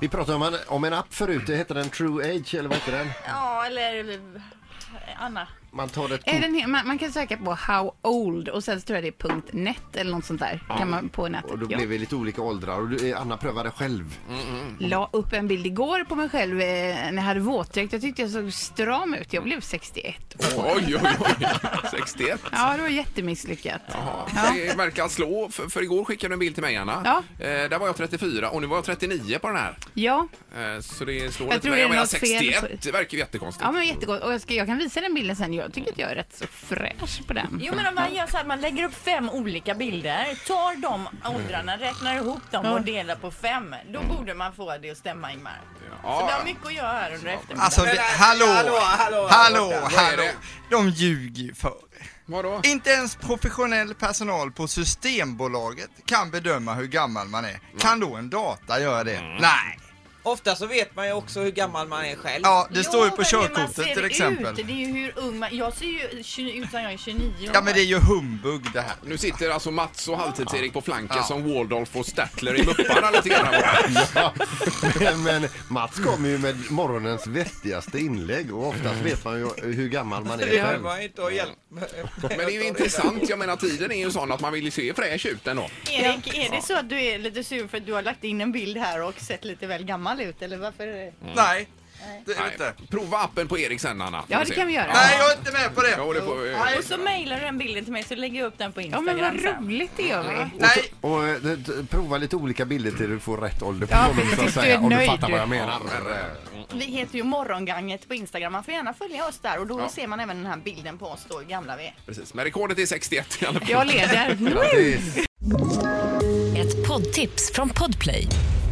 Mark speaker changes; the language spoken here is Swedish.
Speaker 1: Vi pratade om en, om en app förut, det hette den True Age eller vad hette den?
Speaker 2: Ja, eller Anna.
Speaker 1: Man tar ett
Speaker 3: Är
Speaker 1: kort.
Speaker 3: den, he- man, man kan söka på how old och sen så tror jag det är punkt .net eller något sånt där. Kan man på nätet.
Speaker 1: Och då
Speaker 3: ja.
Speaker 1: blev vi lite olika åldrar och du- eh, Anna prövade själv.
Speaker 3: La upp en bild igår på mig själv eh, när jag hade våtdräkt. Jag tyckte jag såg stram ut. Jag blev 61.
Speaker 4: Oj, oj, oj. 61.
Speaker 3: Ja, det var jättemisslyckat.
Speaker 4: Ja. Det verkar slå, för, för igår skickade du en bild till mig, Anna.
Speaker 3: Ja.
Speaker 4: Eh, där var jag 34 och nu var jag 39 på den här.
Speaker 3: Ja,
Speaker 4: Eh, så det slår
Speaker 3: Jag
Speaker 4: lite.
Speaker 3: tror
Speaker 4: Men
Speaker 3: det är
Speaker 4: menar,
Speaker 3: något fel
Speaker 4: 61,
Speaker 3: på-
Speaker 4: det verkar ju jättekonstigt.
Speaker 3: ja men jättegott. Och jag, ska, jag kan visa den bilden sen. Jag tycker att jag är rätt så fräsch på den.
Speaker 2: Jo men om man gör så här, man lägger upp fem olika bilder, tar de åldrarna, räknar ihop dem och delar på fem. Då borde man få det att stämma Ingmar. Så vi har mycket att göra här under eftermiddagen.
Speaker 5: Alltså, det, hallå, hallå, hallå, hallå,
Speaker 4: Vad är det?
Speaker 5: De ljuger ju för er.
Speaker 4: Vadå?
Speaker 5: Inte ens professionell personal på Systembolaget kan bedöma hur gammal man är. Kan då en data göra det? Nej.
Speaker 6: Ofta så vet man ju också hur gammal man är själv.
Speaker 5: Ja, det
Speaker 2: Jo,
Speaker 5: står ju på
Speaker 2: men hur man ser
Speaker 5: körkortet till exempel.
Speaker 2: Ut. Det är ju hur ung man... Jag ser ju 20 ut som jag är 29 år.
Speaker 5: Ja, men det är ju humbug det här.
Speaker 4: Nu sitter alltså Mats och Halvtids-Erik på flanken
Speaker 5: Ja.
Speaker 4: som Waldorf och Statler i Mupparna lite grann. här borta.
Speaker 1: Ja, men Mats kommer ju med morgonens vettigaste inlägg och oftast vet man ju hur gammal man är
Speaker 6: Det har
Speaker 1: själv.
Speaker 6: man ju inte att hjälpa.
Speaker 4: Men det är ju intressant. Jag menar, tiden är ju sån att man vill ju se fräsch ut ändå.
Speaker 2: Erik, är det så att du är lite sur för att du har lagt in en bild här och sett lite väl gammal ut eller varför? är det-
Speaker 5: Nej, det är det
Speaker 4: Nej.
Speaker 5: inte.
Speaker 4: Prova appen på Erik sen, Anna.
Speaker 3: Ja,
Speaker 4: Får
Speaker 3: det
Speaker 4: se.
Speaker 3: kan vi göra.
Speaker 5: Nej, jag är inte med på det.
Speaker 4: Jo, det får vi.
Speaker 2: Och så mejlar du den bilden till mig så lägger jag upp den på
Speaker 3: Ja,
Speaker 2: Instagram
Speaker 3: men vad
Speaker 2: sen.
Speaker 3: roligt det gör vi.
Speaker 5: Nej,
Speaker 1: Och eh, d- d- prova lite olika bilder till du får rätt ålder på
Speaker 3: Ja,
Speaker 1: dem,
Speaker 3: precis,
Speaker 1: så att
Speaker 3: du är
Speaker 1: säga, om du
Speaker 3: nöjd,
Speaker 1: fattar
Speaker 3: du.
Speaker 1: vad jag menar.
Speaker 4: eh,
Speaker 2: Vi heter ju Morgonganget på Instagram. Man får gärna följa oss där och då ser man även den här bilden på oss då, hur gamla vi är.
Speaker 4: Precis. Men rekordet är 61 i alla fall.
Speaker 3: Jag leder.
Speaker 1: Grattis!
Speaker 7: Ett poddtips från Podplay.